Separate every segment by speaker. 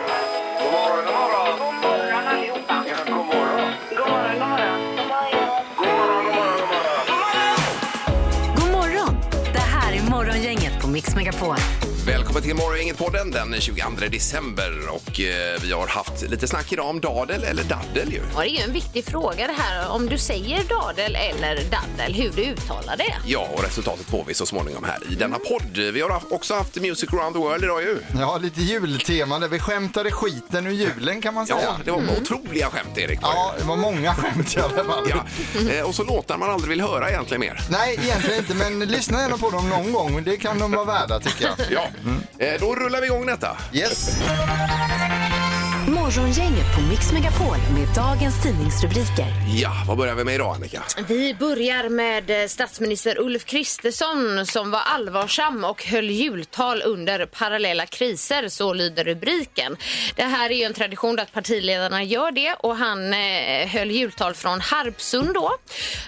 Speaker 1: God morgon, god morgon. God morgon allihopa. Ja, god morgon. God morgon, god morgon. God morgon, god morgon, god
Speaker 2: God
Speaker 1: morgon.
Speaker 2: morgon! Det här är Morgongänget på Mix Megapol.
Speaker 3: Välkommen till Morgongänget-podden den 22 december. Och eh, vi har haft lite snack idag om dadel eller daddel ju.
Speaker 4: Ja, det är ju en viktig fråga det här om du säger dadel eller daddel, hur du uttalar det.
Speaker 3: Ja, och resultatet får vi så småningom här i denna podd. Vi har haft- också haft Music around the world idag ju.
Speaker 5: Ja, lite jultema där vi skämtade skiten ur julen kan man säga.
Speaker 3: Ja, det var otroliga skämt Erik.
Speaker 5: Ja, det var många skämt i alla fall.
Speaker 3: Ja. Eh, Och så låtar man aldrig vill höra egentligen mer.
Speaker 5: Nej, egentligen inte, men lyssna gärna på dem någon gång. Det kan de vara värda tycker jag.
Speaker 3: Ja, Eh, då rullar vi igång detta.
Speaker 5: Yes.
Speaker 2: Morgongänget på Mix Megapol med dagens tidningsrubriker.
Speaker 3: Ja, vad börjar vi med idag Annika?
Speaker 4: Vi börjar med eh, statsminister Ulf Kristersson som var allvarsam och höll jultal under parallella kriser, så lyder rubriken. Det här är ju en tradition att partiledarna gör det och han eh, höll jultal från Harpsund då.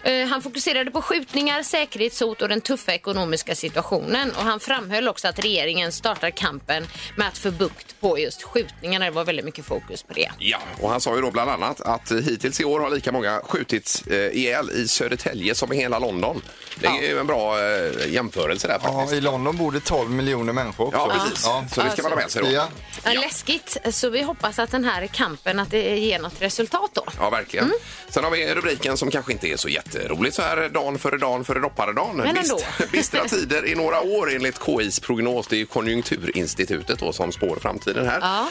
Speaker 4: Eh, han fokuserade på skjutningar, säkerhetshot och den tuffa ekonomiska situationen och han framhöll också att regeringen startar kampen med att få bukt på just skjutningarna. Det var väldigt mycket fokus på det.
Speaker 3: Ja, och han sa ju då bland annat att hittills i år har lika många skjutits eh, ihjäl i Södertälje som i hela London. Det är ju en bra eh, jämförelse där
Speaker 5: Ja,
Speaker 3: faktiskt.
Speaker 5: I London bor det 12 miljoner människor också.
Speaker 3: Ja, precis.
Speaker 5: Ja.
Speaker 3: Så det ska man ha med sig då.
Speaker 5: Ja.
Speaker 4: Ja. Läskigt, så vi hoppas att den här kampen att det ger något resultat då.
Speaker 3: Ja, verkligen.
Speaker 4: Mm.
Speaker 3: Sen har vi rubriken som kanske inte är så jätterolig så här dagen före dagen före dopparedagen.
Speaker 4: Men ändå.
Speaker 3: Bist- Bistra tider i några år enligt KIs prognos. Det är ju Konjunkturinstitutet då som spår framtiden här.
Speaker 4: Ja.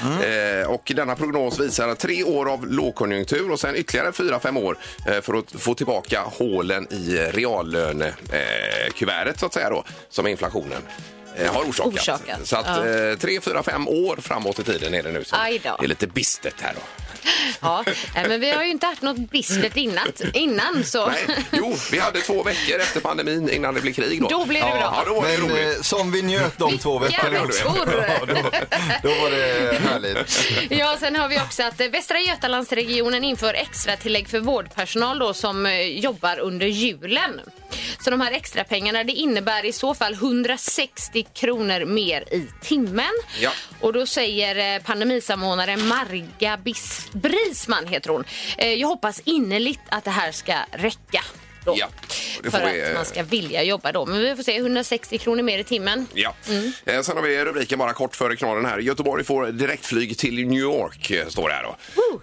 Speaker 3: Eh, och denna prognos visar att tre år av lågkonjunktur och sen ytterligare fyra, fem år eh, för att få tillbaka hålen i reallönekuvertet eh, kuvertet, så att säga då, som inflationen eh, har orsakat.
Speaker 4: Orsakat,
Speaker 3: Så att
Speaker 4: ja.
Speaker 3: eh, tre, fyra, fem år framåt i tiden är det nu. Så
Speaker 4: Aj då.
Speaker 3: det är lite bistert här då.
Speaker 4: Ja. Nej, Men vi har ju inte haft något bistert innan, innan så.
Speaker 3: Nej, jo, vi hade två veckor efter pandemin innan det blev krig. Då,
Speaker 4: Då blev det
Speaker 3: ja,
Speaker 4: bra.
Speaker 3: Ja, då var det
Speaker 5: Men
Speaker 3: roligt.
Speaker 5: eh, som vi njöt de två
Speaker 4: Vilka
Speaker 5: veckorna.
Speaker 4: veckor!
Speaker 5: Ja, då, då var det härligt.
Speaker 4: Ja, sen har vi också att eh, Västra Götalandsregionen inför extra tillägg för vårdpersonal då som eh, jobbar under julen. Så de här extra pengarna det innebär i så fall 160 kronor mer i timmen.
Speaker 3: Ja.
Speaker 4: Och då säger eh, pandemisamordnaren Marga Bis- Brisman heter hon. Eh, Jag hoppas innerligt att det här ska räcka. Då.
Speaker 3: Ja, det får
Speaker 4: för
Speaker 3: vi, eh,
Speaker 4: att man ska vilja jobba då. Men vi får se, 160 kronor mer i timmen.
Speaker 3: Ja.
Speaker 4: Mm.
Speaker 3: Eh, Sen har vi rubriken bara kort före knorren här. Göteborg får direktflyg till New York, eh, står det här då.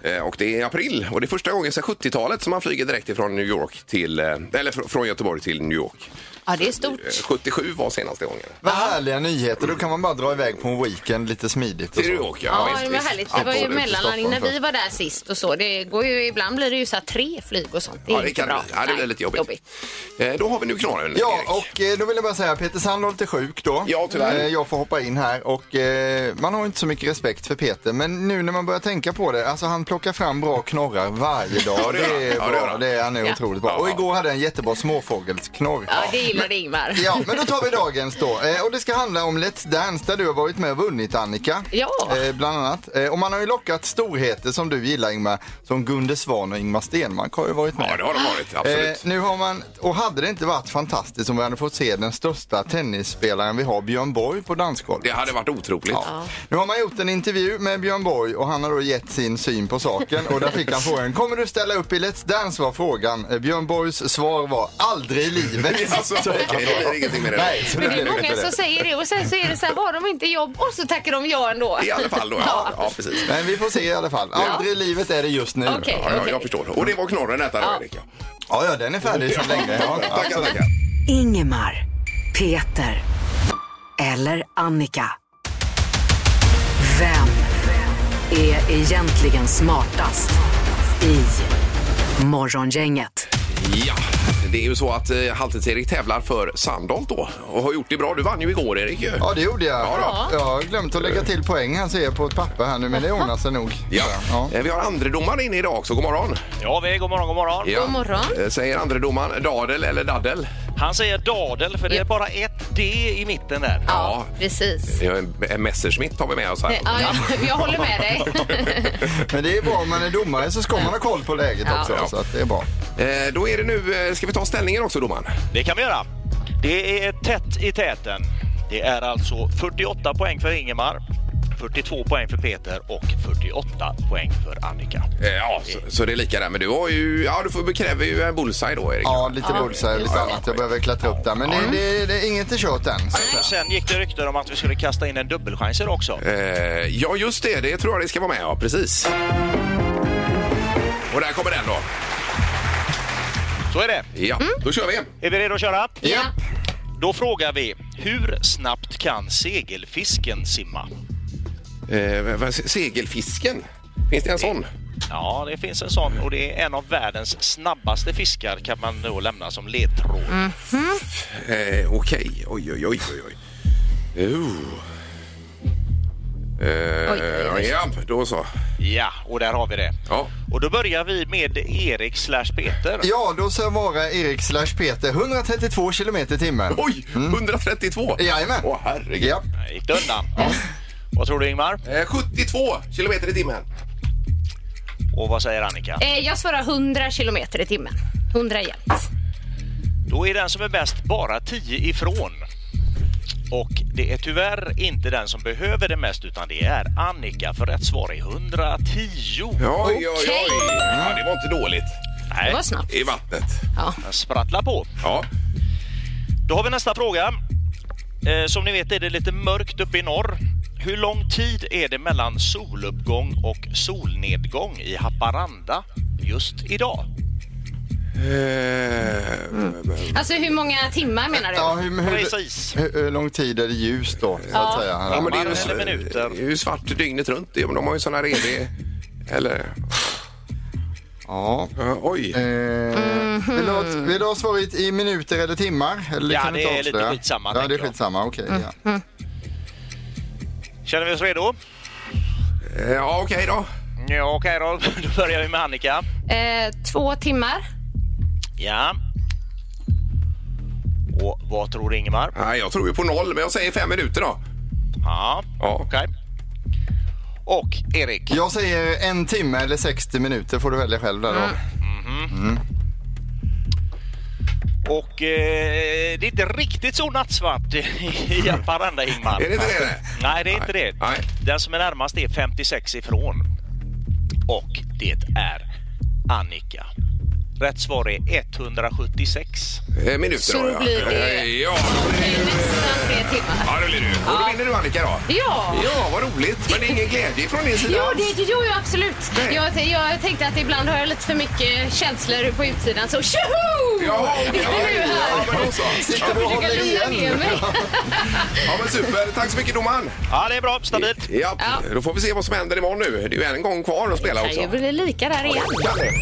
Speaker 3: Eh, Och det är i april och det är första gången sedan 70-talet som man flyger direkt ifrån New York till, eh, eller fr- från Göteborg till New York.
Speaker 4: Ja, det är stort.
Speaker 3: Eh, 77 var senaste gången.
Speaker 5: Vad härliga nyheter. Då kan man bara dra iväg på en weekend lite smidigt. Och
Speaker 3: Till New
Speaker 5: så.
Speaker 3: York,
Speaker 4: Ja,
Speaker 3: visst,
Speaker 4: det var
Speaker 3: visst.
Speaker 4: härligt. Det var
Speaker 3: Absolut.
Speaker 4: ju mellanlandning när
Speaker 5: Stockholm
Speaker 4: vi var där sist och så. Det går ju, ibland blir det ju så här tre flyg och sånt. Det är
Speaker 3: Ja, det
Speaker 4: inte
Speaker 3: kan
Speaker 4: bra.
Speaker 3: bra. Ja, det blir
Speaker 4: Nej,
Speaker 3: lite jobbigt. Eh, Då har vi nu knorren,
Speaker 5: Ja,
Speaker 3: Erik.
Speaker 5: och eh, då vill jag bara säga Peter Sandholt är sjuk då.
Speaker 3: Ja, tyvärr.
Speaker 5: Eh, Jag får hoppa in här och eh, man har inte så mycket respekt för Peter, men nu när man börjar tänka på det, alltså han plockar fram bra knorrar varje dag.
Speaker 3: Ja, det gör
Speaker 5: är
Speaker 3: han. Ja, det gör
Speaker 5: bra,
Speaker 3: han.
Speaker 5: det är, han är otroligt bra. Och igår hade jag en jättebra småfågelsknorr.
Speaker 4: Ja, det gillade Ingmar.
Speaker 5: Ja, men då tar vi dagens då. Eh, och det ska handla om Let's Dance där du har varit med och vunnit Annika.
Speaker 4: Ja.
Speaker 5: Eh, bland annat. Eh, och man har ju lockat storheter som du gillar Ingmar, som Gunde Svan och Ingmar Stenmark har ju varit med.
Speaker 3: Ja, det har de varit.
Speaker 5: Eh,
Speaker 3: Absolut.
Speaker 5: nu har man, och hade det inte varit fantastiskt om vi hade fått se den största tennisspelaren vi har, Björn Borg, på dansgolvet?
Speaker 3: Det hade varit otroligt.
Speaker 5: Ja. Nu har man gjort en intervju med Björn Borg och han har då gett sin syn på saken och där fick han frågan, kommer du ställa upp i Let's Dance var frågan. Eh, Björn Borgs svar var, aldrig i livet.
Speaker 3: Alltså, okej, det blir ingenting med det.
Speaker 5: Nej, så det
Speaker 4: Men det
Speaker 5: blev
Speaker 4: är
Speaker 5: inget
Speaker 4: många
Speaker 5: med
Speaker 4: som
Speaker 5: det.
Speaker 4: säger det och sen så är det så här, har de inte jobb och så tackar de ja ändå.
Speaker 3: I alla fall då, ja. ja precis.
Speaker 5: Men vi får se i alla fall. Aldrig i livet är det just nu.
Speaker 4: Okej.
Speaker 3: Ja, ja, jag förstår. Och det var knorren detta då, Erik. ja.
Speaker 5: Ja, ja, den är färdig sedan länge. Ja,
Speaker 3: Tackar,
Speaker 5: absolut.
Speaker 3: tackar.
Speaker 2: Ingemar, Peter eller Annika. Vem är egentligen smartast i Morgongänget?
Speaker 3: Ja, det är ju så att eh, Halvtids-Erik tävlar för Sandholt då och har gjort det bra. Du vann ju igår, Erik. ju.
Speaker 5: Ja, det gjorde jag.
Speaker 3: Ja,
Speaker 5: jag har glömt att lägga till poäng här ser jag på ett papper här nu, men det ordnar sig nog.
Speaker 3: Ja. Eh, Vi har andredomaren inne idag också. God morgon!
Speaker 6: Ja, vi, god morgon, god morgon.
Speaker 3: Ja.
Speaker 4: God morgon.
Speaker 3: Eh, Säger andredomaren dadel eller daddel?
Speaker 6: Han säger dadel för det är bara ett D i mitten där.
Speaker 4: Ja,
Speaker 3: Ja.
Speaker 4: precis. Eh,
Speaker 3: Vi har en- En Messerschmitt har vi med oss här.
Speaker 4: Ja, jag, jag håller med dig.
Speaker 5: Men det är bra om man är domare så ska man ha koll på läget
Speaker 4: Ja.
Speaker 5: också.
Speaker 3: Ja.
Speaker 5: Så att det är bra.
Speaker 3: Eh, Då är det nu, eh, ska vi ta ställningen också domaren?
Speaker 6: Det kan vi göra. Det är tätt i täten. Det är alltså 48 poäng för Ingemar, 42 poäng för Peter och 48 poäng för Annika.
Speaker 3: Eh, Ja, så, så det är lika där. Men du har ju, ja du får bekräva ju en bullseye då Erik.
Speaker 5: Ja, lite bullseye och lite annat. Jag behöver klättra upp där. Men det, det, det är inget är kört än.
Speaker 6: Och sen gick det rykten om att vi skulle kasta in en dubbelchanser också.
Speaker 3: Eh, Ja, just det. Det tror jag det ska vara med. Ja, precis. Och där kommer den då.
Speaker 6: Så är det.
Speaker 3: Ja,
Speaker 4: Mm.
Speaker 3: då kör vi.
Speaker 6: Är vi redo att köra?
Speaker 4: Ja.
Speaker 6: Då frågar vi, hur snabbt kan segelfisken simma?
Speaker 3: Eh, vad- vad- segelfisken. Finns det en sån?
Speaker 6: Ja, det finns en sån och det är en av världens snabbaste fiskar kan man då lämna som ledtråd.
Speaker 3: Eh, Okej. Oj, oj, oj, oj, oj. Uh. Eh,
Speaker 4: Oj, oj, oj.
Speaker 3: Ja, då så.
Speaker 6: Ja, och där har vi det.
Speaker 3: Ja.
Speaker 6: Och då börjar vi med Erik slash Peter.
Speaker 5: Ja, då ska jag vara Erik slash Peter 132 kilometer i timmen.
Speaker 3: Oj,
Speaker 4: Mm.
Speaker 3: 132!
Speaker 5: Jajamän.
Speaker 3: Åh, herregud.
Speaker 5: Ja.
Speaker 6: Där Gick det undan? Vad tror du Ingmar?
Speaker 3: Eh, 72 kilometer i timmen.
Speaker 6: Och vad säger Annika?
Speaker 4: Eh, Jag svarar 100 kilometer i timmen. 100 jämt.
Speaker 6: Då är den som är bäst bara 10 ifrån. Och det är tyvärr inte den som behöver det mest utan det är Annika för rätt svar är 110.
Speaker 3: Ja, oj, oj,
Speaker 4: Okej.
Speaker 3: oj. Ja, det var inte dåligt.
Speaker 6: Nej,
Speaker 4: Det var snabbt.
Speaker 3: I vattnet.
Speaker 4: Ja.
Speaker 6: den sprattlar på.
Speaker 3: Ja.
Speaker 6: Då har vi nästa fråga. Eh, som ni vet är det lite mörkt uppe i norr. Hur lång tid är det mellan soluppgång och solnedgång i Haparanda just idag?
Speaker 3: Eh,
Speaker 4: Alltså hur många timmar menar du?
Speaker 5: Ja, hur, hur,
Speaker 6: Precis.
Speaker 5: hur, hur lång tid är det ljus då? Så att säga.
Speaker 3: ja, men det är ju,
Speaker 6: Eller minuter.
Speaker 3: det är ju svart dygnet runt. Det- De har ju sån här evig... Eller...
Speaker 5: Ja.
Speaker 3: eh, oj.
Speaker 5: Eh, vill, du ha, vill du ha svaret i minuter eller timmar? Eller
Speaker 6: Ja,
Speaker 5: kan du
Speaker 6: det
Speaker 5: inte
Speaker 6: är lite
Speaker 5: avslöja?
Speaker 6: skitsamma,
Speaker 5: Ja, det
Speaker 6: tänker
Speaker 5: är
Speaker 6: jag.
Speaker 5: skitsamma. Okej. ja.
Speaker 6: Känner vi oss redo?
Speaker 3: Eh, Ja, okej då.
Speaker 6: Ja, okej då. Då börjar vi med Annika.
Speaker 4: Eh, två timmar.
Speaker 6: Ja. Och vad tror Ingemar?
Speaker 3: Nej, jag tror ju på noll, men jag säger fem minuter då.
Speaker 6: Ja,
Speaker 3: Ja.
Speaker 6: okej. Och Erik,
Speaker 5: Jag säger en timme eller 60 minuter får du välja själv där då.
Speaker 6: och eh, det är inte riktigt så nattsvart i Haparanda Ingmar.
Speaker 3: Är det inte det? det?
Speaker 6: Nej, det är inte det.
Speaker 3: Nej.
Speaker 6: Den som är närmast är 56 ifrån. Och det är Annika. Rätt svar är 176.
Speaker 3: Eh, Minuter
Speaker 4: Så
Speaker 3: då,
Speaker 4: då
Speaker 3: ja.
Speaker 4: blir det-
Speaker 3: Eh, Ja,
Speaker 4: Det är nästan tre timmar.
Speaker 3: ja det blir det. Och då vinner du Annika då.
Speaker 4: Ja.
Speaker 3: Ja, vad roligt. Men det är ingen glädje från din sida
Speaker 4: Jo,
Speaker 3: alls.
Speaker 4: det, jo, jo absolut.
Speaker 3: Nej.
Speaker 4: Jag, t- jag tänkte att ibland har jag lite för mycket känslor på utsidan. Så tjoho!
Speaker 3: Ja,
Speaker 4: Det
Speaker 3: okej.
Speaker 4: är du
Speaker 3: ja,
Speaker 4: här.
Speaker 3: men då så.
Speaker 5: Sitter du och
Speaker 4: Jag
Speaker 5: håller
Speaker 4: lugna ner
Speaker 5: igen?
Speaker 4: mig.
Speaker 3: Ja, men super. Tack så mycket domaren.
Speaker 6: Ja, det är bra. Stabilt.
Speaker 3: Ja,
Speaker 4: Ja.
Speaker 3: då får vi se vad som händer imorgon nu. Det är ju en gång kvar att spela också.
Speaker 4: Det blir lika där igen.
Speaker 3: Kan det?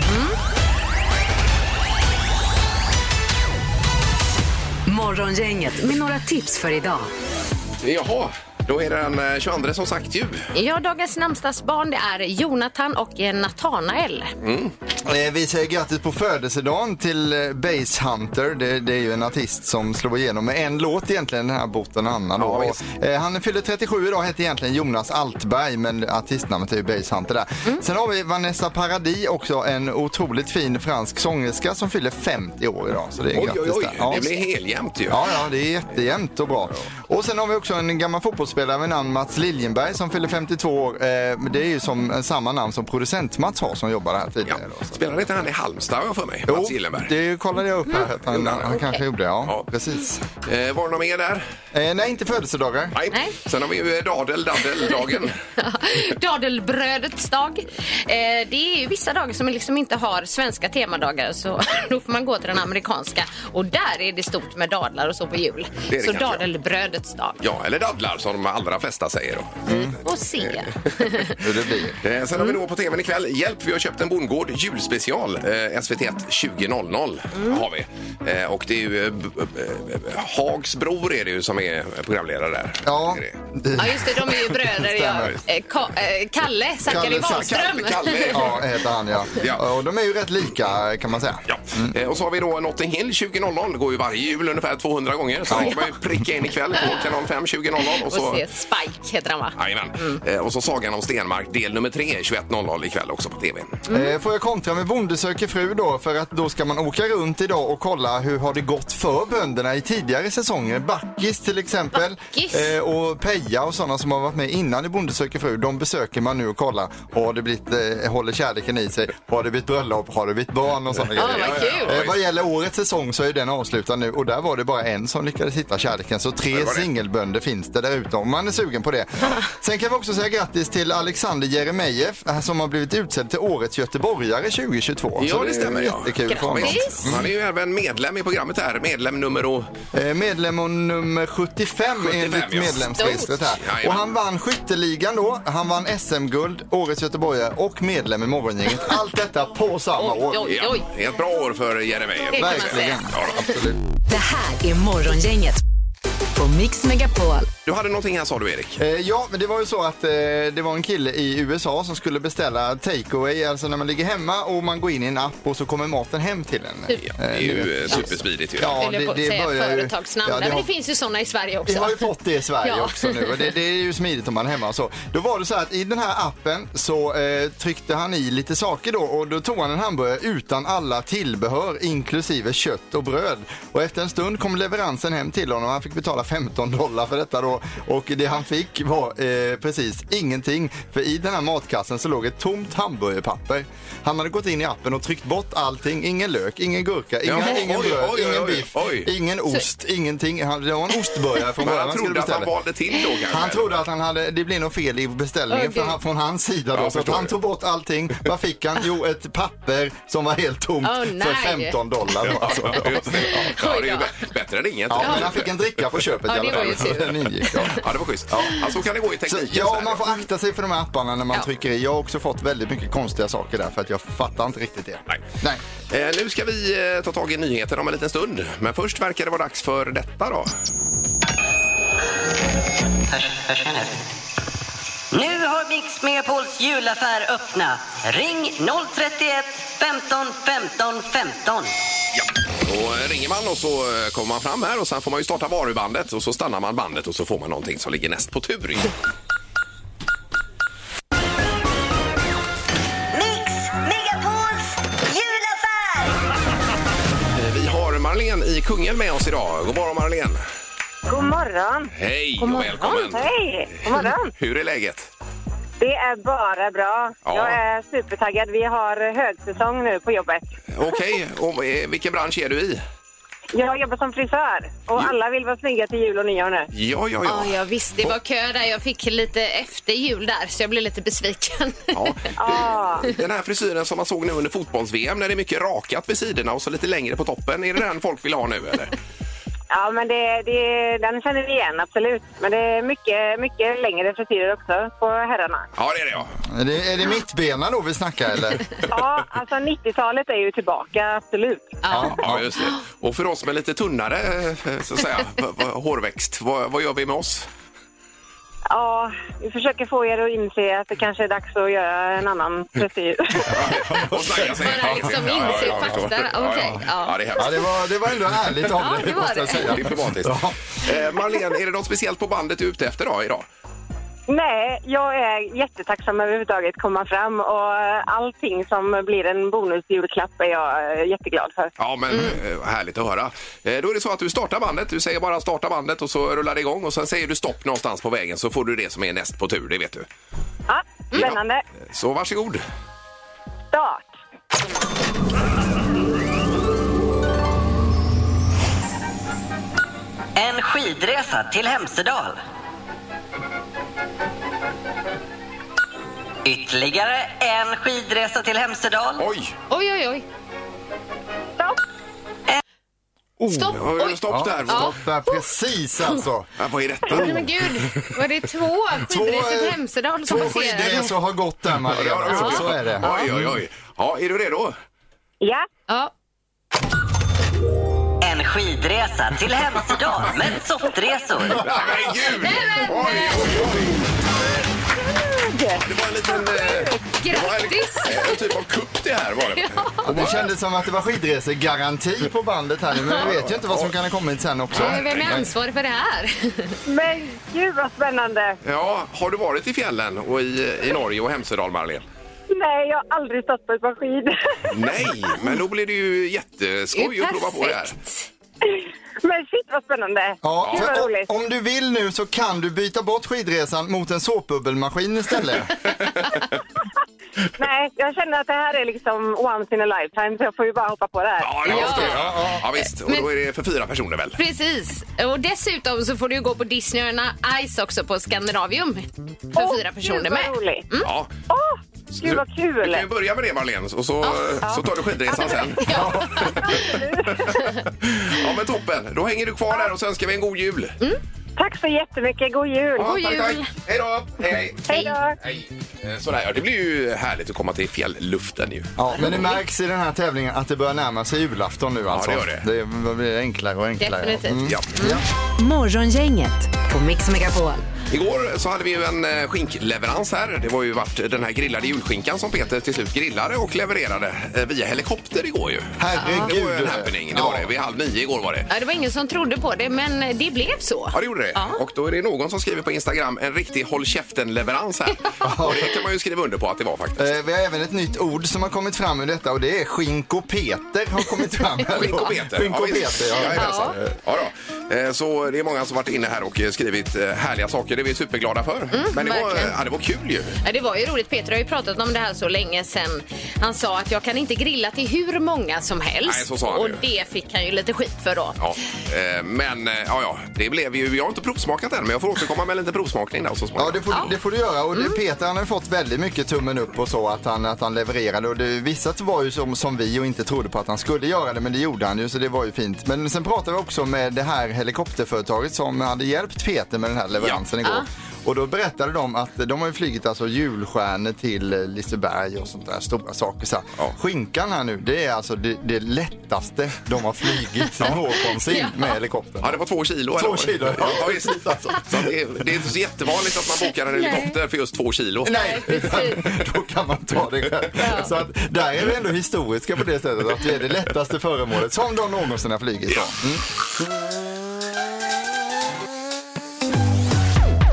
Speaker 2: Morgongänget med några tips för idag.
Speaker 3: Jaha, då är det den eh, 22 som sagt ju.
Speaker 4: Ja, dagens namnsdagsbarn det är Jonathan och eh, Nathanael.
Speaker 5: Eh, Vi säger grattis på födelsedagen till eh, Bass Hunter. Det, det är ju en artist som slår igenom med en låt egentligen, den här Botten Anna.
Speaker 3: Ja,
Speaker 5: Då.
Speaker 3: visst.
Speaker 5: Och, eh, han fyller 37 idag, heter egentligen Jonas Altberg men artistnamnet är ju Bass Hunter där. Sen har vi Vanessa Paradis också, en otroligt fin fransk sångerska som fyller 50 år idag. Så det är
Speaker 3: Oj,
Speaker 5: grattis
Speaker 3: oj, oj.
Speaker 5: där. Ja.
Speaker 3: Det blir heljämnt ju.
Speaker 5: Ja, ja, det är jättejämnt och bra. Och sen har vi också en gammal fotbollsspelare med namn Mats Liljenberg som fyller 52 år. Eh, Det är ju som, eh, samma namn som producent-Mats har som jobbade här
Speaker 3: Ja.
Speaker 5: tidigare. då. Så-
Speaker 3: Spelade inte han i Halmstad har jag för mig?
Speaker 5: Jo,
Speaker 3: Mats Gillenberg.
Speaker 5: det kollade jag upp här. att Han,
Speaker 3: Gjorde han?
Speaker 5: han kanske gjorde det, ja.
Speaker 3: Ja.
Speaker 5: Precis.
Speaker 3: Eh, var det någon mer där?
Speaker 5: Eh, nej, inte födelsedagar.
Speaker 3: Nej.
Speaker 4: Nej.
Speaker 3: Sen har vi ju eh, dadel, dadeldagen.
Speaker 4: Dadelbrödets dag. Eh, det är ju vissa dagar som liksom inte har svenska temadagar så då får man gå till den amerikanska. Och där är det stort med dadlar och så på jul.
Speaker 3: Det är det
Speaker 4: så
Speaker 3: kanske, ja.
Speaker 4: dadelbrödets dag.
Speaker 3: ja, eller dadlar som de allra flesta säger då.
Speaker 4: Och se.
Speaker 5: Hur det blir.
Speaker 3: Eh, sen har vi då på tvn ikväll Hjälp, vi har köpt en bondgård julspecial eh, SVT1 20.00 har vi. Eh, och det är ju eh, b- b- b- Hags bror är det ju som är programledare där.
Speaker 5: Ja,
Speaker 3: Är det.
Speaker 4: Ja, just det. De är ju bröder. ja. Eh, Ka- eh, Kalle Zackari
Speaker 5: Kalle Zack-
Speaker 4: Wahlström.
Speaker 3: Kalle, Kalle.
Speaker 5: Ja, heter han ja.
Speaker 3: Ja.
Speaker 5: Och de är ju rätt lika kan man säga.
Speaker 3: Ja.
Speaker 4: Mm.
Speaker 3: Eh, Och så har vi då Notting Hill 20.00. Det går ju varje jul ungefär 200 gånger. Så den kan man ju pricka in ikväll på kanal 5 20.00. Och
Speaker 4: Och Mm.
Speaker 3: så...
Speaker 4: se, Spike heter han va?
Speaker 3: Jajamän. Eh, Och så Sagan om Stenmark del nummer 3 21.00 ikväll också på tv.
Speaker 5: Eh, Får jag kontra med Bonde söker fru då? För att då ska man åka runt idag och kolla hur har det gått för bönderna i tidigare säsonger. Backis till exempel.
Speaker 4: Backis.
Speaker 5: Eh, och Peja och sådana som har varit med innan i Bonde söker fru. De besöker man nu och kollar. Har det blivit, eh, håller kärleken i sig? Har det blivit bröllop? Har det blivit barn? Och sådana
Speaker 4: vad
Speaker 5: grejer.
Speaker 4: kul.
Speaker 5: Eh, vad gäller årets säsong så är den avslutad nu och där var det bara en som lyckades hitta kärleken. Så tre
Speaker 3: var det.
Speaker 5: singelbönder finns det där ute om man är sugen på det. Sen kan vi också säga grattis till Alexander Jeremejeff eh, som har blivit utsedd till årets göteborgare 2022.
Speaker 3: Ja,
Speaker 5: Så
Speaker 3: det
Speaker 5: är
Speaker 3: stämmer, ja.
Speaker 5: Jättekul för honom.
Speaker 4: Grattis.
Speaker 3: Mm. Han är ju även medlem i programmet här. Medlem nummer och...
Speaker 5: Eh, Medlem och nummer 75,
Speaker 3: 75,
Speaker 5: enligt
Speaker 3: ja.
Speaker 5: medlemsregistret
Speaker 3: Stort.
Speaker 5: här. Och han vann skytteligan då, han vann SM-guld, årets göteborgare och medlem i morgongänget. Allt detta på samma
Speaker 4: Oj,
Speaker 5: år.
Speaker 4: oj,
Speaker 3: Ja,
Speaker 4: oj.
Speaker 3: det är ett bra år för Jeremejeff.
Speaker 4: Det kan man
Speaker 5: Verkligen.
Speaker 4: säga.
Speaker 3: Ja, då.
Speaker 5: Absolut.
Speaker 2: Det här är Morgongänget på Mix Megapol.
Speaker 3: Du hade någonting här sa du Erik.
Speaker 5: Eh, ja, men det var ju så att eh, det var en kille i USA som skulle beställa takeaway, alltså när man ligger hemma och man går in i en app och så kommer maten hem till en.
Speaker 4: Typ.
Speaker 3: Ja, det är ju eh, supersmidigt ju.
Speaker 5: Ja,
Speaker 4: Eller på att säga
Speaker 5: ju-
Speaker 4: företagsnamn.
Speaker 5: Ja,
Speaker 4: Nej,
Speaker 5: det,
Speaker 4: men
Speaker 5: har,
Speaker 4: det finns ju såna i Sverige också.
Speaker 5: vi har ju fått det i Sverige
Speaker 4: Ja.
Speaker 5: också nu och det, det är ju smidigt om man är hemma och så. Då var det så här att i den här appen så eh, tryckte han i lite saker då och då tog han en hamburgare utan alla tillbehör inklusive kött och bröd. Och efter en stund kom leveransen hem till honom och han fick betala 15 dollar för detta då. Och det han fick var eh, precis ingenting för i den här matkassen så låg ett tomt hamburgerpapper. Han hade gått in i appen och tryckt bort allting, ingen lök, ingen gurka, inga,
Speaker 3: Jaha,
Speaker 5: ingen
Speaker 3: oj, oj,
Speaker 5: bröd,
Speaker 3: oj,
Speaker 5: ingen
Speaker 3: oj,
Speaker 5: biff,
Speaker 3: oj.
Speaker 5: ingen ost, ingenting. Han- Det var en ostburgare från
Speaker 3: Men
Speaker 5: början
Speaker 3: han trodde att han
Speaker 5: beställa.
Speaker 3: valde till då kanske.
Speaker 5: Han trodde att han hade, det blev något fel i beställningen
Speaker 4: Åh,
Speaker 5: för
Speaker 4: Gud.
Speaker 5: han, från hans sida då.
Speaker 3: Ja,
Speaker 5: så att
Speaker 3: förstår
Speaker 5: han
Speaker 3: det.
Speaker 5: tog bort allting. Vad fick han? Jo, ett papper som var helt tomt
Speaker 4: Åh, nej.
Speaker 5: för 15 dollar. Då, alltså.
Speaker 3: Just det. Ja, Ja, det är ju
Speaker 4: Oj
Speaker 3: bä- bättre än inget.
Speaker 5: Ja, men han fick en dricka på köpet
Speaker 4: Ja,
Speaker 5: i
Speaker 4: det
Speaker 5: alla
Speaker 4: var ju
Speaker 5: fall.
Speaker 4: tur.
Speaker 5: Den ingick, ja.
Speaker 3: Ja, det var schysst. Ja, så kan det gå i
Speaker 5: Så,
Speaker 3: tekniken. så
Speaker 5: ja,
Speaker 3: här.
Speaker 5: man får akta sig för de här apparna när man
Speaker 4: Ja.
Speaker 5: trycker i. Jag har också fått väldigt mycket konstiga saker där för att jag fattar inte riktigt det.
Speaker 3: Nej.
Speaker 5: Nej.
Speaker 3: Eh, Nu ska vi eh, ta tag i nyheterna om en liten stund. Men först verkar det vara dags för detta då.
Speaker 7: Nu har Mix Megapols julaffär öppnat. Ring 031 15 15 15.
Speaker 3: Ja. Då eh, ringer man och så eh, kommer man fram här och sen får man ju starta varubandet och så stannar man bandet och så får man någonting som ligger näst på tur. Eh,
Speaker 7: Mix Megapols julaffär!
Speaker 3: Eh, Vi har Marlene i Kungälv med oss idag. God morgon Marlene!
Speaker 8: God morgon!
Speaker 3: Hej och välkommen!
Speaker 8: Hej! God morgon!
Speaker 3: Hur är läget?
Speaker 8: Det är bara bra.
Speaker 3: Ja.
Speaker 8: Jag är supertaggad. Vi har högsäsong nu på jobbet.
Speaker 3: Okej, och eh, vilken bransch är du i?
Speaker 8: Jag jobbar som frisör och alla vill vara snygga till jul och nyår nu.
Speaker 3: Ja, ja,
Speaker 4: Ja,
Speaker 3: ja.
Speaker 4: jag visste. Det var kö där. Jag fick lite efter jul där, så jag blev lite besviken.
Speaker 3: ja.
Speaker 8: Ah,
Speaker 3: Den här frisyren som man såg nu under fotbolls-VM när det är mycket rakat vid sidorna och så lite längre på toppen. Är det den folk vill ha nu eller?
Speaker 8: ja, men det, det, den känner vi igen, absolut. Men det är mycket, mycket längre frisyrer också på herrarna.
Speaker 3: Ja, det är det ja.
Speaker 5: Är det, är det mittbena då vi snackar eller?
Speaker 8: Ja, alltså 90-talet är ju tillbaka, absolut.
Speaker 3: Ja, ja, just det. Och för oss med lite tunnare eh, så att säga, v- v- hårväxt, vad, vad gör vi med oss?
Speaker 8: Ja, vi försöker få er att inse att det kanske är dags att göra en annan frisyr.
Speaker 3: Och snagga sig.
Speaker 4: Bara liksom
Speaker 3: Ja, ja,
Speaker 4: inse
Speaker 3: ja,
Speaker 4: fakta.
Speaker 3: förstår. Ja,
Speaker 4: Okej,
Speaker 3: ja.
Speaker 4: ja.
Speaker 3: Ja, det är
Speaker 5: Ja,
Speaker 3: hemskt.
Speaker 5: det var, det var ändå ärligt av
Speaker 4: Ja,
Speaker 5: dig
Speaker 4: det var
Speaker 5: måste jag
Speaker 4: det.
Speaker 5: säga.
Speaker 3: Diplomatiskt.
Speaker 5: Ja.
Speaker 3: Eh, Marlene, är det något speciellt på bandet du är ute efter då, idag?
Speaker 8: Nej, jag är jättetacksam överhuvudtaget komma fram och eh, allting som blir en bonusjulklapp är jag eh, jätteglad för.
Speaker 3: Ja, men
Speaker 4: Mm.
Speaker 3: eh, härligt att höra. Eh, Då är det så att du startar bandet. Du säger bara starta bandet och så rullar det igång och sen säger du stopp någonstans på vägen så får du det som är näst på tur, det vet du.
Speaker 8: Ja, spännande.
Speaker 3: Så varsågod.
Speaker 8: Start.
Speaker 7: En skidresa till Hemsedal. Ytterligare en skidresa till Hemsedal.
Speaker 3: Oj!
Speaker 4: Oj, oj, oj.
Speaker 8: Stopp.
Speaker 4: Stopp!
Speaker 3: Ja,
Speaker 4: Oj.
Speaker 3: Stopp där.
Speaker 5: Ja, stopp där precis alltså.
Speaker 3: Ja, vad är detta?
Speaker 4: Nej, men gud, var det två skidresor till
Speaker 5: eh,
Speaker 4: Hemsedal som
Speaker 5: Två
Speaker 4: passerade?
Speaker 5: skidresor har gått där Maria. Så, så är det.
Speaker 3: Oj, oj, oj. Ja, är du redo?
Speaker 8: Ja,
Speaker 4: Ja.
Speaker 7: En en skidresa till Hemsedal med soppresor.
Speaker 3: Nej men gud!
Speaker 4: Nej, men-
Speaker 3: Oj, oj, oj! Det var en liten... eh, det var en-
Speaker 4: Grattis!
Speaker 3: En typ av kupp det här var det.
Speaker 5: Och det kändes som att det var skidresegaranti på bandet här nu, men vi vet ju inte vad som kan ha kommit sen också.
Speaker 4: Eh, Vem är ansvarig för det här?
Speaker 8: Men gud vad spännande!
Speaker 3: Ja, har du varit i fjällen och i, i Norge och Hemsedal Marlene?
Speaker 8: Nej, jag har aldrig stått på ett par skidor.
Speaker 3: Nej, men då blir det ju jätteskoj att prova på det här.
Speaker 4: perfekt.
Speaker 8: Men shit vad spännande!
Speaker 5: Ja,
Speaker 8: Gud vad
Speaker 5: för
Speaker 8: roligt!
Speaker 5: om, om du vill nu så kan du byta bort skidresan mot en såpbubbelmaskin istället.
Speaker 8: Nej, jag känner att det här är liksom once in a lifetime så jag får ju bara hoppa på det här.
Speaker 3: Ja, det
Speaker 4: Ja.
Speaker 3: måste du. Ja, Mm. ja, visst. Och då är det för fyra personer väl?
Speaker 4: Precis. Och dessutom så får du ju gå på Disneyöarna Ice också på Skandinavium. För
Speaker 8: Åh,
Speaker 4: fyra personer
Speaker 8: gud, vad
Speaker 4: med. Mm.
Speaker 8: roligt.
Speaker 3: Ja.
Speaker 8: Åh, gud vad
Speaker 3: Du
Speaker 8: kul!
Speaker 3: kan ju börja med det Marlene, och så, så tar du skidresan sen.
Speaker 4: Ja.
Speaker 3: Ja men toppen, då hänger du kvar där och så önskar vi en god jul.
Speaker 8: Tack så jättemycket, god jul!
Speaker 3: Ja,
Speaker 4: God
Speaker 3: tack,
Speaker 4: jul.
Speaker 3: tack. Hej då! Hej, hej.
Speaker 8: Hej då!
Speaker 3: Hej. Eh, Sådär ja, det blir ju härligt att komma till fjällluften ju.
Speaker 5: Ja, men det märks i den här tävlingen att det börjar närma sig julafton nu alltså.
Speaker 3: det gör det.
Speaker 5: Det blir enklare och enklare.
Speaker 4: Definitivt.
Speaker 3: Mm. Ja.
Speaker 2: Morgongänget på Mix Megapol.
Speaker 3: Igår så hade vi ju en eh, skinkleverans här. Det var ju vart den här grillade julskinkan som Peter till slut grillade och levererade eh, via helikopter igår ju.
Speaker 5: Herregud.
Speaker 3: Det var ju en happening, det var det. Vid halv nio igår var det.
Speaker 4: Ja, det var ingen som trodde på det, men det blev så.
Speaker 3: Ja, det gjorde det.
Speaker 4: Ja.
Speaker 3: Och då är det någon som skriver på Instagram en riktig håll käften-leverans här. och det kan man ju skriva under på att det var faktiskt.
Speaker 5: Eh, Vi har även ett nytt ord som har kommit fram ur detta och det är skinkopeter har kommit fram. här då.
Speaker 3: Skinkopeter.
Speaker 5: Skinkopeter, ja.
Speaker 3: ja. visst. Jajamensan. ja då. Eh, Så det är många som varit inne här och eh, skrivit eh, härliga saker. Det är vi superglada för.
Speaker 5: Mm,
Speaker 3: Men det var,
Speaker 4: verkligen.
Speaker 3: ja, det var kul ju.
Speaker 4: Ja, det var ju roligt. Peter har ju pratat om det här så länge sedan. Han sa att jag kan inte grilla till hur många som helst.
Speaker 3: Nej, så sa han
Speaker 4: och
Speaker 3: ju.
Speaker 4: det fick han ju lite skit för då.
Speaker 3: Ja, eh, men eh, ja, ja, det blev ju... Jag har inte provsmakat än, men jag får återkomma med lite provsmakning där så
Speaker 5: Ja,
Speaker 3: småningom.
Speaker 5: det får, det får du göra. Och det, Peter han har fått väldigt mycket tummen upp och så att han, att han levererade. Och det, vissa var ju som, som vi och inte trodde på att han skulle göra det, men det gjorde han ju så det var ju fint. Men sen pratade vi också med det här helikopterföretaget som hade hjälpt Peter med den här leveransen igår. Och då berättade de att de har ju flugit alltså julstjärnor till eh, Liseberg och sånt där stora saker. Så här.
Speaker 3: Ja.
Speaker 5: Skinkan här nu, det är alltså det, det lättaste de har flugit någonsin med helikoptern.
Speaker 3: Ja, det var två kilo. eller
Speaker 5: Två
Speaker 3: vad?
Speaker 5: kilo,
Speaker 3: ja.
Speaker 5: ja. Alltså.
Speaker 3: visst. Så att det, är- det är inte så jättevanligt att man bokar en helikopter för just två kilo.
Speaker 5: Nej,
Speaker 4: precis.
Speaker 5: då kan man ta det själv. Så att, där är vi ändå historiska på det sättet att vi är det lättaste föremålet som de någonsin har flugit. Ja. Mm.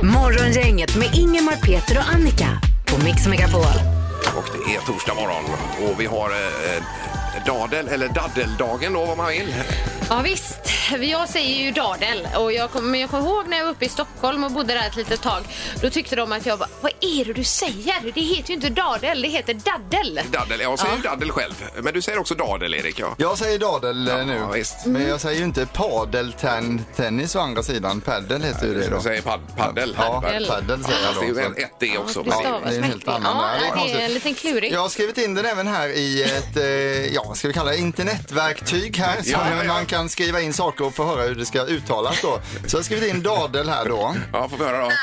Speaker 2: Morgongänget med Ingemar, Peter och Annika på Mix Megapol.
Speaker 3: Och det är torsdag morgon och vi har eh, dadel, eller daddeldagen då om man vill.
Speaker 4: Ja visst, jag säger ju dadel. Och jag kom, men jag kommer ihåg när jag var uppe i Stockholm och bodde där ett litet tag. Då tyckte de att jag bara, vad är det du säger? Det heter ju inte dadel, det heter daddel.
Speaker 3: Daddel, jag säger ju daddel själv, men du säger också dadel Erik. Ja.
Speaker 5: Jag säger dadel eh, nu,
Speaker 3: Ja, visst. Mm.
Speaker 5: men jag säger ju inte padeltennis å andra sidan. Padel heter ju det då.
Speaker 3: Du säger pad, paddel.
Speaker 5: Ja,
Speaker 4: Paddel.
Speaker 5: padel
Speaker 3: Fast det är
Speaker 5: säger
Speaker 3: ju
Speaker 5: jag
Speaker 3: en,
Speaker 5: då.
Speaker 3: ett D också.
Speaker 4: det
Speaker 3: men-
Speaker 4: stavas.
Speaker 5: det är en helt annan.
Speaker 4: Ja,
Speaker 5: Nej,
Speaker 4: det är
Speaker 5: konstigt.
Speaker 4: en liten klurig.
Speaker 5: Jag har skrivit in den även här i ett, eh, ja, vad ska vi kalla det, internetverktyg här. Som
Speaker 3: Ja, ja, ja.
Speaker 5: man kan skriva in saker och få höra hur det ska uttalas då. Så jag har skrivit in dadel här då.
Speaker 3: Ja, får vi höra då.
Speaker 7: Del,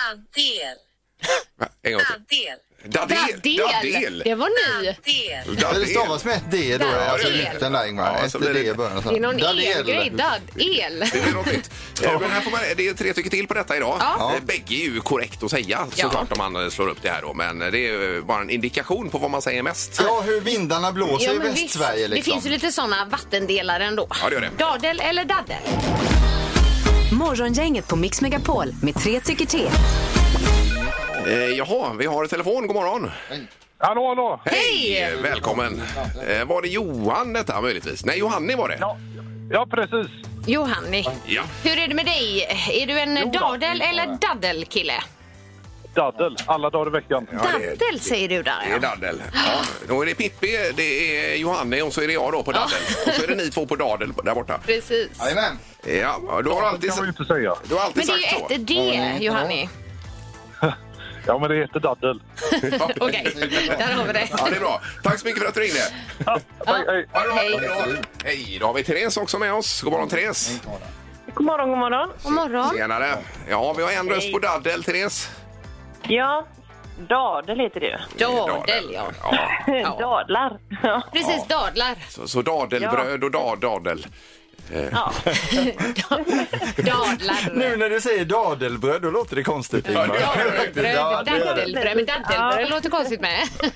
Speaker 3: En gång till.
Speaker 7: del,
Speaker 3: Dadel.
Speaker 4: Daddel! Det var ny.
Speaker 7: del.
Speaker 5: Ja, Det stavas med ett D då,
Speaker 4: Dadel.
Speaker 5: alltså i mitten där Ingmar.
Speaker 3: Ja, så
Speaker 5: ett
Speaker 3: blir
Speaker 5: D
Speaker 3: det-
Speaker 5: i början. så liksom.
Speaker 4: Det är någon
Speaker 5: Dadel.
Speaker 4: el-grej. Dadd-el.
Speaker 3: Det blir något nytt. Eh, Men här får man, det är tre stycken till på detta idag.
Speaker 4: Ja.
Speaker 3: Eh, Bägge är ju korrekt att säga såklart om man eh, slår upp det här då. Men eh, det är ju bara en indikation på vad man säger mest.
Speaker 5: Ja, hur vindarna blåser i
Speaker 4: men
Speaker 5: Västsverige
Speaker 4: visst. Det
Speaker 5: liksom.
Speaker 4: finns ju lite såna vattendelar ändå.
Speaker 3: Ja, det gör det.
Speaker 4: Dadel eller daddel?
Speaker 2: Morgongänget på Mix Megapol med tre tycker till.
Speaker 3: Eh, jaha, vi har ett telefon. God morgon.
Speaker 1: Hallå, hallå!
Speaker 3: Hej! Eh, Välkommen. Eh, var det Johan detta möjligtvis? Nej, Johanni var det.
Speaker 1: Ja, ja precis.
Speaker 4: Johanni,
Speaker 3: Ja.
Speaker 4: hur är det med dig? Är du en
Speaker 1: då,
Speaker 4: dadel
Speaker 1: det är
Speaker 4: eller
Speaker 1: jag.
Speaker 4: daddel-kille?
Speaker 1: Daddel, alla dagar i veckan.
Speaker 3: Ja, det-
Speaker 4: Daddel säger du där,
Speaker 3: Det är
Speaker 4: ja.
Speaker 3: daddel. Ja, då är det Pippi, det är Johanni och så är det jag då på daddel. Och så är det ni två på dadel där borta.
Speaker 4: Precis.
Speaker 5: Jajamän.
Speaker 3: Ja, du har
Speaker 1: Det
Speaker 3: alltid,
Speaker 1: kan man ju inte säga.
Speaker 3: du har
Speaker 4: Men
Speaker 3: alltid
Speaker 4: det är
Speaker 3: sagt
Speaker 4: ju
Speaker 3: så.
Speaker 4: ett D, Johanni.
Speaker 1: Ja, men det heter daddel.
Speaker 4: Okej, där har vi det.
Speaker 3: Ja, det är bra. Tack så mycket för att du ringde.
Speaker 1: Hej, hej.
Speaker 3: Ha det bra.
Speaker 4: Hej.
Speaker 3: Ha det bra. Hej, då har vi Therese också med oss. God morgon Therese.
Speaker 8: God morgon, god morgon.
Speaker 4: God morgon.
Speaker 3: Tjenare. Ja, vi har en röst på daddel, Therese.
Speaker 8: Ja, dadel heter det ju.
Speaker 4: Dadel, ja.
Speaker 3: ja.
Speaker 8: Dadlar. Ja.
Speaker 4: Precis, dadlar.
Speaker 3: Så, så dadelbröd och da, dadel.
Speaker 4: Ja. Dadlar.
Speaker 5: Nu när du säger dadelbröd, då låter det konstigt Ingmar.
Speaker 3: Ja, det gör det
Speaker 5: Ja,
Speaker 4: Bröd,
Speaker 5: det gör det.
Speaker 4: dadelbröd. Men dadelbröd låter konstigt med.
Speaker 5: Ja,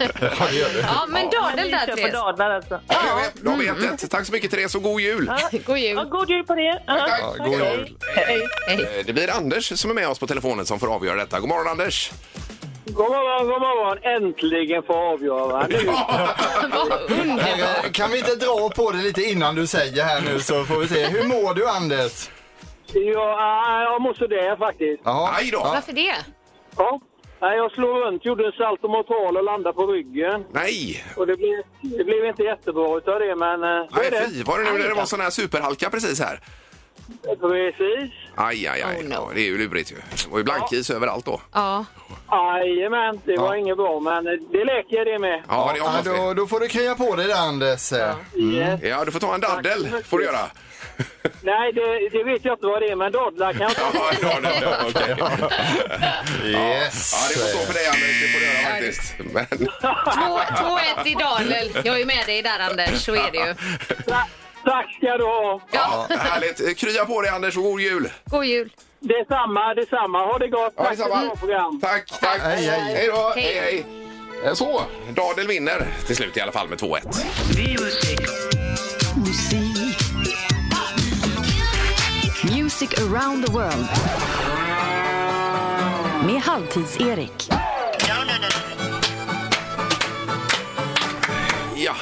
Speaker 5: det gör det.
Speaker 4: Ja, men dadel där,
Speaker 8: Kör på
Speaker 4: Therese.
Speaker 8: dadlar alltså.
Speaker 3: Ja, det gör vi. Då har vi
Speaker 4: Mm.
Speaker 3: ett, ett. Tack så mycket Therese och god jul!
Speaker 4: God
Speaker 8: Ja,
Speaker 4: jul.
Speaker 8: god jul på det.
Speaker 3: Tack.
Speaker 5: Ja, god jul.
Speaker 8: Hej.
Speaker 3: Eh, Det blir Anders som är med oss på telefonen som får avgöra detta. God morgon Anders!
Speaker 1: God morgon, god morgon. Äntligen få avgöra. Nu.
Speaker 4: Vad underbart.
Speaker 5: Herre, Kan vi inte dra på det lite innan du säger här nu så får vi se. Hur mår du Anders?
Speaker 1: Ja, ah, jag mår sådär faktiskt.
Speaker 5: Jaha.
Speaker 3: Aj då!
Speaker 4: Varför det?
Speaker 1: Ja. Nej, jag slog runt, gjorde en saltomortal och landade på ryggen.
Speaker 3: Nej!
Speaker 1: Och det blev, det blev inte jättebra utav det, men eh, så
Speaker 3: Nej,
Speaker 1: är det.
Speaker 3: fy. Var det nu när det var sån här superhalka precis här?
Speaker 1: Precis.
Speaker 3: Aj, aj, aj.
Speaker 4: Oh, no.
Speaker 3: Ja, det är ju lurigt ju. Det var ju blankis överallt då.
Speaker 4: Ja.
Speaker 1: Jajamän, det var
Speaker 5: Ja.
Speaker 1: inget bra, men det läker det med.
Speaker 3: Ja, det
Speaker 5: Ja,
Speaker 3: hoppas vi.
Speaker 5: då, då får du krya på dig där Anders.
Speaker 1: Yes.
Speaker 3: Ja, du får ta en daddel, får du göra.
Speaker 1: Nej, det, det vet jag inte vad det är, men dadlar kan jag
Speaker 3: Ja,
Speaker 1: ta.
Speaker 3: ja, ja, ja, okej.
Speaker 5: Yes.
Speaker 3: ja, det får stå för dig Anders, det får du göra faktiskt. Men,
Speaker 4: 2-1 i dadel. Jag är med dig där, Anders. Så är det ju.
Speaker 1: Ta- Tack ska du ha.
Speaker 3: ja, härligt. Krya på dig Anders och god jul!
Speaker 4: God jul.
Speaker 1: Detsamma, detsamma. Ha det gott. Tack för
Speaker 3: detsamma.
Speaker 1: ett bra program.
Speaker 3: Tack, tack.
Speaker 5: Hej, hej.
Speaker 3: då.
Speaker 4: Hej.
Speaker 3: Hej, hej. Eh, Så, Dadel vinner till slut i alla fall med 2-1.
Speaker 2: Music around the world. Med Halvtids-Erik.
Speaker 3: Ja,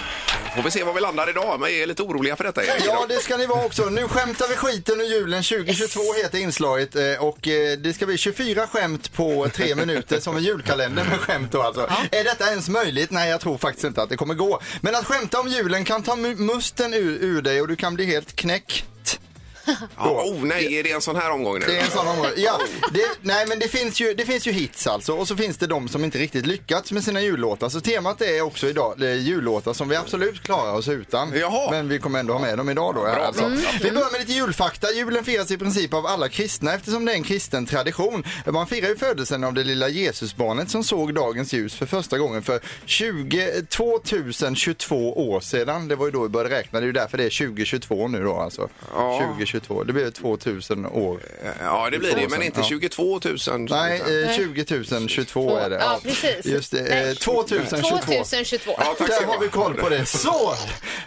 Speaker 3: får vi se var vi landar idag. Men jag är lite oroliga för detta Erik.
Speaker 5: Ja, det ska ni vara också. Nu skämtar vi skiten ur julen 2022 heter inslaget eh, och eh, det ska bli 24 skämt på tre minuter som en julkalender med skämt då alltså. Är detta ens möjligt? Nej, jag tror faktiskt inte att det kommer gå. Men att skämta om julen kan ta mu- musten ur, ur dig och du kan bli helt knäckt.
Speaker 3: Ja, oh nej, är det en sån här omgång nu?
Speaker 5: Det är en sån område. Ja, det, nej men det finns, ju, det finns ju hits alltså och så finns det de som inte riktigt lyckats med sina jullåtar. Så temat är också idag det är jullåtar som vi absolut klarar oss utan.
Speaker 3: Jaha.
Speaker 5: Men vi kommer ändå ha med dem idag då. här,
Speaker 3: bra,
Speaker 5: alltså.
Speaker 3: bra, bra.
Speaker 5: Vi börjar med lite julfakta. Julen firas i princip av alla kristna eftersom det är en kristen tradition. Man firar ju födelsen av det lilla Jesusbarnet som såg dagens ljus för första gången för 20, 2022 år sedan. Det var ju då vi började räkna. Det är ju därför det är 2022 nu då alltså.
Speaker 3: Ja.
Speaker 5: 2022. Det blir 2000 år.
Speaker 3: Ja, det blir det. Men inte
Speaker 5: Ja.
Speaker 3: 22 000.
Speaker 5: Nej, eh, 20 022 är det.
Speaker 4: Ja, precis.
Speaker 5: Just det, eh, 2022.
Speaker 4: 2022.
Speaker 3: Ja, tack
Speaker 5: Där
Speaker 3: ska
Speaker 5: har vi
Speaker 3: du ha.
Speaker 5: koll på det. Så!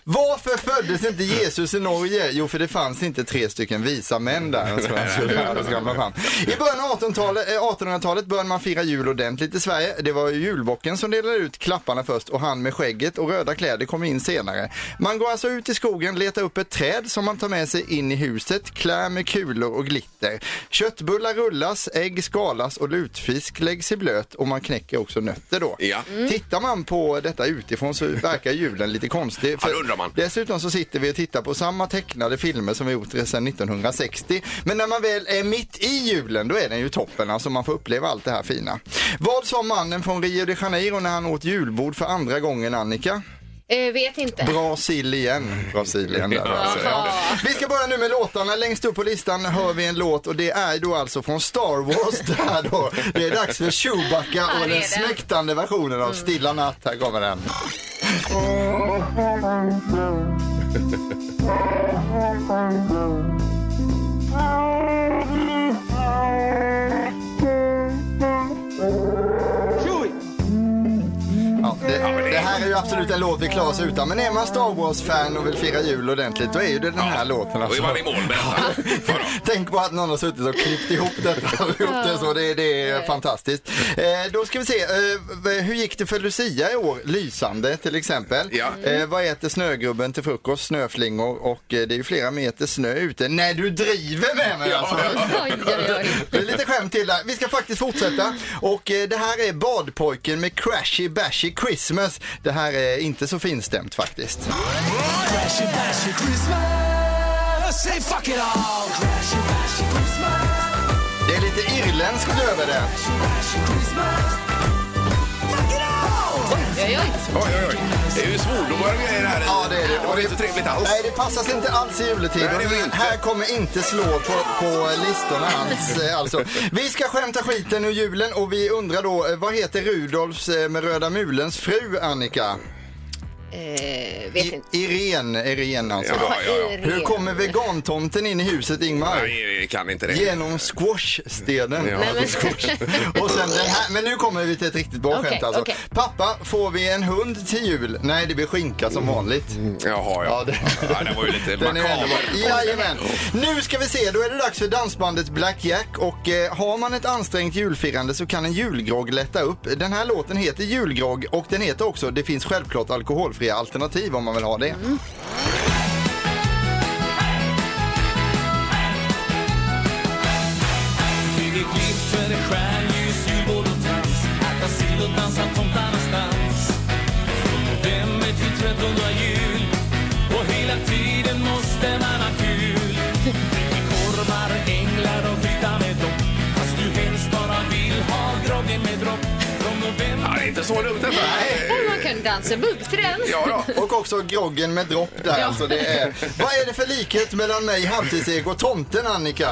Speaker 5: Varför föddes inte Jesus i Norge? Jo, för det fanns inte tre stycken visa män där. Jag tror han skulle lära sig gamla fram. I början av 1800-talet, eh, 1800-talet började man fira jul ordentligt i Sverige. Det var ju julbocken som delade ut klapparna först och han med skägget och röda kläder kom in senare. Man går alltså ut i skogen, letar upp ett träd som man tar med sig in i huset, klär med kulor och glitter. Köttbullar rullas, ägg skalas och lutfisk läggs i blöt och man knäcker också nötter då.
Speaker 3: Ja.
Speaker 5: Tittar man på detta utifrån så verkar julen lite konstig.
Speaker 3: Ja, det undrar man.
Speaker 5: Dessutom så sitter vi och tittar på samma tecknade filmer som vi gjort sedan 1960. Men när man väl är mitt i julen då är den ju toppen, alltså man får uppleva allt det här fina. Vad sa mannen från Rio de Janeiro när han åt julbord för andra gången Annika?
Speaker 4: Eh, vet inte.
Speaker 5: Bra sill igen. Bra sill igen där, alltså. ja. Vi ska börja nu med låtarna. Längst upp på listan hör vi en låt och det är då alltså från Star Wars. Där då. Det är dags för Chewbacca
Speaker 4: det
Speaker 5: och
Speaker 4: är
Speaker 5: den
Speaker 4: det.
Speaker 5: smäktande versionen av Stilla natt. Här kommer den. Ja, det, det här är ju absolut en låt vi klarar oss utan. Men är man Star Wars-fan och vill fira jul ordentligt då är ju det den här låten.
Speaker 3: Då är
Speaker 5: Alltså.
Speaker 3: man i mål med detta.
Speaker 5: Tänk på att någon har suttit och klippt ihop detta och gjort det så. Det, det är fantastiskt. Eh, då ska vi se. Eh, hur gick det för Lucia i år? Lysande till exempel.
Speaker 3: Ja.
Speaker 5: Eh, vad äter snögubben till frukost? Snöflingor och eh, det är ju flera meter snö ute. Nej, du driver med mig alltså.
Speaker 4: Oj, oj, oj.
Speaker 5: Det är lite skämt till där. Vi ska faktiskt fortsätta. Och eh, det här är Badpojken med Crashy Bashy Christmas. Det här är inte så finstämt faktiskt. Det är lite irländskt över det.
Speaker 4: Oj, oj.
Speaker 3: Oj, oj, oj. Det är ju svordomar och grejer här.
Speaker 5: Ja, det är det.
Speaker 3: Det var inte trevligt alls.
Speaker 5: Nej, det passar inte alls i juletid.
Speaker 3: Nej, det är det inte.
Speaker 5: Här kommer inte slå på, på listorna alls. eh, Alltså. Vi ska skämta skiten ur julen och vi undrar då, eh, vad heter Rudolfs eh, med röda mulens fru, Annika?
Speaker 4: Eh, vet
Speaker 5: I,
Speaker 4: inte.
Speaker 5: Irene, Irene alltså.
Speaker 3: Ja, ja, ja.
Speaker 5: Hur kommer vegantomten in i huset Ingmar?
Speaker 3: Nej, vi kan inte det.
Speaker 5: Genom squashstenen.
Speaker 3: Ja.
Speaker 4: Nej, men,
Speaker 5: Och sen den här, men nu kommer vi till ett riktigt bra
Speaker 4: Okej,
Speaker 5: skämt alltså.
Speaker 4: okej.
Speaker 5: Pappa, får vi en hund till jul? Nej, det blir skinka som vanligt.
Speaker 3: Jaha, Mm. ja.
Speaker 5: Ja,
Speaker 3: det...
Speaker 5: det-
Speaker 3: ja. Det var ju lite
Speaker 5: Den är ändå
Speaker 3: makaber.
Speaker 5: bra. Jajamän. Nu ska vi se, då är det dags för dansbandet Black Jack och eh, har man ett ansträngt julfirande så kan en julgrogg lätta upp. Den här låten heter Julgrogg och den heter också Det finns självklart alkoholfria alternativ om man vill ha det.
Speaker 3: Ja, det är inte så dumt detta.
Speaker 4: oh, man kunde dansa bugg till den.
Speaker 3: Ja, då.
Speaker 5: Och också groggen med dropp där. Alltså det är... Vad är det för likhet mellan mig, Halvtids-Erik och tomten Annika?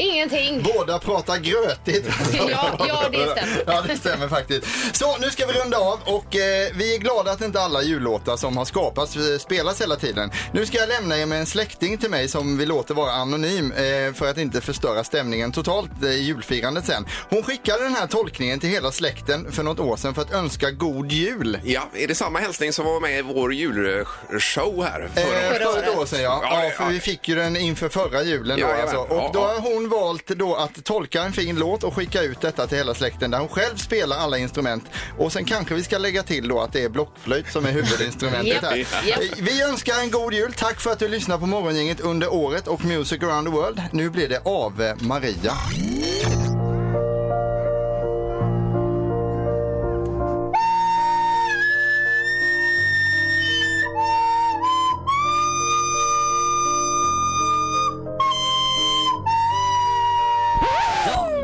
Speaker 4: Ingenting.
Speaker 5: Båda pratar grötigt.
Speaker 4: Ja, ja, det stämmer.
Speaker 5: Ja, det stämmer faktiskt. Så, nu ska vi runda av och eh, vi är glada att inte alla jullåtar som har skapats eh, spelas hela tiden. Nu ska jag lämna er med en släkting till mig som vi låter vara anonym eh, för att inte förstöra stämningen totalt eh, i julfirandet sen. Hon skickade den här tolkningen till hela släkten för något år sedan för att önska god jul.
Speaker 3: Ja, är det samma hälsning som var med i vår julshow här
Speaker 5: Eh,
Speaker 3: förra året?
Speaker 5: För ett år sedan ja.
Speaker 3: Ja,
Speaker 5: ja,
Speaker 3: det-
Speaker 5: för
Speaker 3: ja.
Speaker 5: vi fick ju den inför förra julen då
Speaker 3: Ja, jajamän.
Speaker 5: alltså.
Speaker 3: Ja,
Speaker 5: Och då
Speaker 3: ja.
Speaker 5: har hon valt då att tolka en fin låt och skicka ut detta till hela släkten där hon själv spelar alla instrument. Och sen kanske vi ska lägga till då att det är blockflöjt som är huvudinstrumentet här.
Speaker 4: Japp, japp.
Speaker 5: Eh, Vi önskar en god jul. Tack för att du lyssnar på Morgongänget under året och Music around the world. Nu blir det Ave Maria.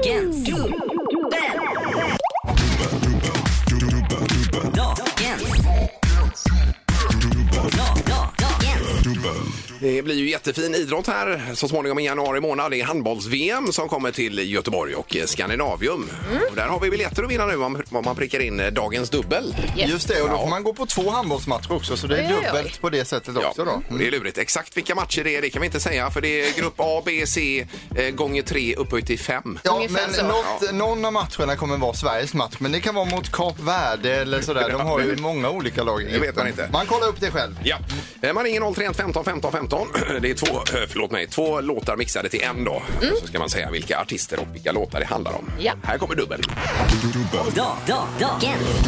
Speaker 9: Dagens dubbel. Dagens. Da- da- Dagens.
Speaker 3: Det blir ju jättefin idrott här så småningom i januari månad. Det är handbolls-VM som kommer till Göteborg och eh, Skandinavium.
Speaker 4: Mm.
Speaker 3: Och där har vi biljetter att vinna nu om om man prickar in eh, dagens dubbel.
Speaker 4: Yes.
Speaker 5: Just det, och då får man gå på två handbollsmatcher också så det är
Speaker 4: Oj, oj, oj.
Speaker 5: dubbelt på det sättet också då. Mm.
Speaker 3: och det är lurigt. Exakt vilka matcher det är det kan vi inte säga för det är grupp A, B, C eh, gånger 3 upphöjt till 5.
Speaker 5: Ja,
Speaker 4: Ungefär så.
Speaker 5: men något, någon av matcherna kommer vara Sveriges match, men det kan vara mot Kap Verde eller sådär. De har ju många olika lag. i
Speaker 3: Det vet man
Speaker 5: gruppen.
Speaker 3: inte.
Speaker 5: Man kollar upp det själv.
Speaker 3: Ja. Eh, Man ringer 031 15 15 15. Det är två, eh, förlåt mig, två låtar mixade till en då. Så ska man säga vilka artister och vilka låtar det handlar om.
Speaker 4: Mm. Ja.
Speaker 3: Här kommer dubbel.
Speaker 9: Da- da- Dagens.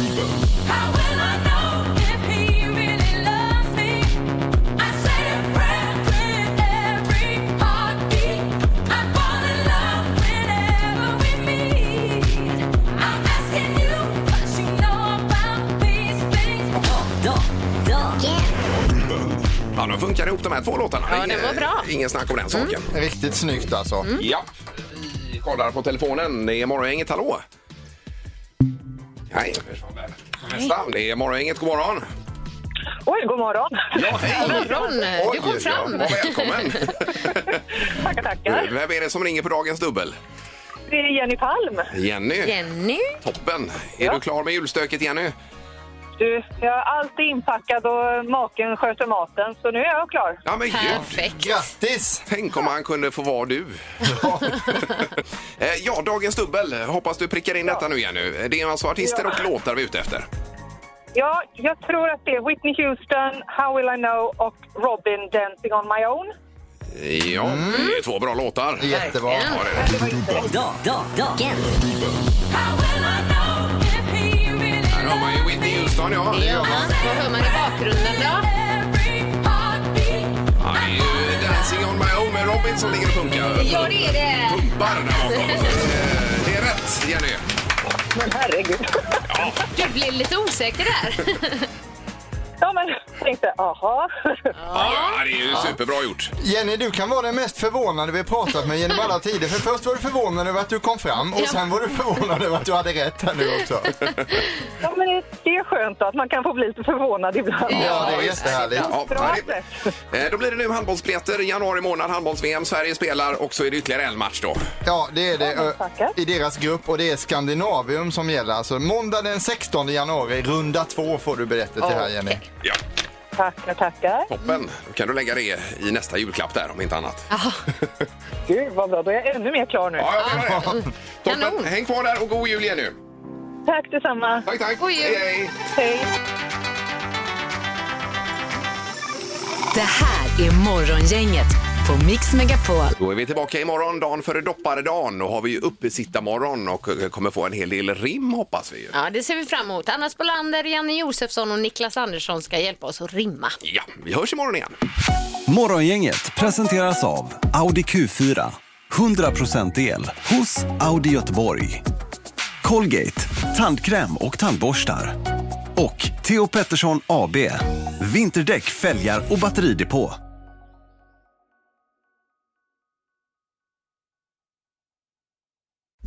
Speaker 9: Da- da- Dagens.
Speaker 3: Ja, de funkar ihop de här två låtarna.
Speaker 4: Ja, det var bra.
Speaker 3: Eh, Ingen snack om den saken.
Speaker 5: Riktigt snyggt alltså.
Speaker 3: Ja. Vi kollar på telefonen. Det är Morgongänget. Hallå! Nej, det försvann där. Nästan. Det är Morgongänget. God morgon!
Speaker 10: Oj, god morgon.
Speaker 3: Ja, hej!
Speaker 4: Morgon, du kom fram.
Speaker 3: Ja, välkommen!
Speaker 10: Tackar, tackar.
Speaker 3: Vem är det som ringer på dagens dubbel?
Speaker 10: Det är Jenny Palm.
Speaker 3: Jenny.
Speaker 4: Jenny.
Speaker 3: Toppen! Är
Speaker 10: Ja.
Speaker 3: du klar med julstöket, Jenny?
Speaker 10: Du, jag har allt inpackat och maken sköter maten, så nu är jag klar.
Speaker 3: Ja, men gud!
Speaker 4: Perfekt.
Speaker 5: Grattis!
Speaker 3: Tänk om han kunde få vara du. Eh, ja, dagens dubbel. Hoppas du prickar in detta nu, Jenny. Det är alltså artister
Speaker 10: Ja.
Speaker 3: och låtar vi är ute efter.
Speaker 10: Ja, jag tror att det är Whitney Houston, How Will I Know och Robin Dancing On My Own.
Speaker 3: Ja, det är två bra låtar.
Speaker 5: Jättebra.
Speaker 3: Ja, det
Speaker 10: Men
Speaker 3: är det.
Speaker 10: det var inte rätt.
Speaker 9: Da- da- Dagens.
Speaker 3: Här har man ju Whitney Houston, ja.
Speaker 4: Ja, vad hör man i bakgrunden då?
Speaker 3: Ja, det är ju Dancing on my own med Robin som ligger och funkar.
Speaker 4: Ja, det är det.
Speaker 3: Pumpar där bakom. Eh, Det är rätt, Jenny.
Speaker 10: Men herregud.
Speaker 4: Du blev lite osäker där.
Speaker 10: Ja, men tänkte, aha.
Speaker 3: Ja, det är ju superbra gjort.
Speaker 5: Jenny, du kan vara den mest förvånade vi har pratat med genom alla tider. För först var du förvånad över att du kom fram och
Speaker 4: Ja.
Speaker 5: sen var du förvånad över att du hade rätt här nu också.
Speaker 10: Ja, men det- det är skönt att man kan få bli lite förvånad ibland.
Speaker 5: Ja, det är jättehärligt.
Speaker 3: Ja,
Speaker 10: Bra
Speaker 3: ja, det-
Speaker 10: sätt.
Speaker 3: Eh, Då blir det nu handbollsbiljetter. Januari månad, handbolls-VM. Sverige spelar och så är det ytterligare en match då.
Speaker 5: Ja, det är det
Speaker 10: Ja, men tackar.
Speaker 5: ö, i deras grupp och det är Skandinavium som gäller. Alltså måndag den 16 januari, runda två får du berättet till här Jenny.
Speaker 4: Okej.
Speaker 3: Ja,
Speaker 10: Tackar, tackar.
Speaker 4: Mm.
Speaker 3: toppen. Då kan du lägga det i nästa julklapp där om inte annat.
Speaker 4: Ah.
Speaker 10: Gud, vad bra. Då är jag ännu mer klar nu.
Speaker 3: Ja, jag menar det. Toppen.
Speaker 4: Kanon.
Speaker 3: Häng kvar där och god jul igen nu.
Speaker 10: Tack detsamma.
Speaker 3: Tack, tack.
Speaker 4: God jul.
Speaker 3: Hej, hej.
Speaker 10: Hej.
Speaker 11: Det här är Morgongänget på Mix Megapol.
Speaker 3: Då är vi tillbaka imorgon, dagen före dopparedagen. Och har vi ju uppesittarmorgon och eh, kommer få en hel del rim hoppas vi ju.
Speaker 4: Ja, det ser vi fram emot. Anna Spolander, Janne Josefsson och Niklas Andersson ska hjälpa oss att rimma.
Speaker 3: Ja, vi hörs imorgon igen.
Speaker 12: Morgongänget presenteras av Audi Q4. 100% el hos Audi Göteborg. Colgate, tandkräm och tandborstar. Och Theo Pettersson AB, vinterdäck, fälgar och batteridepå.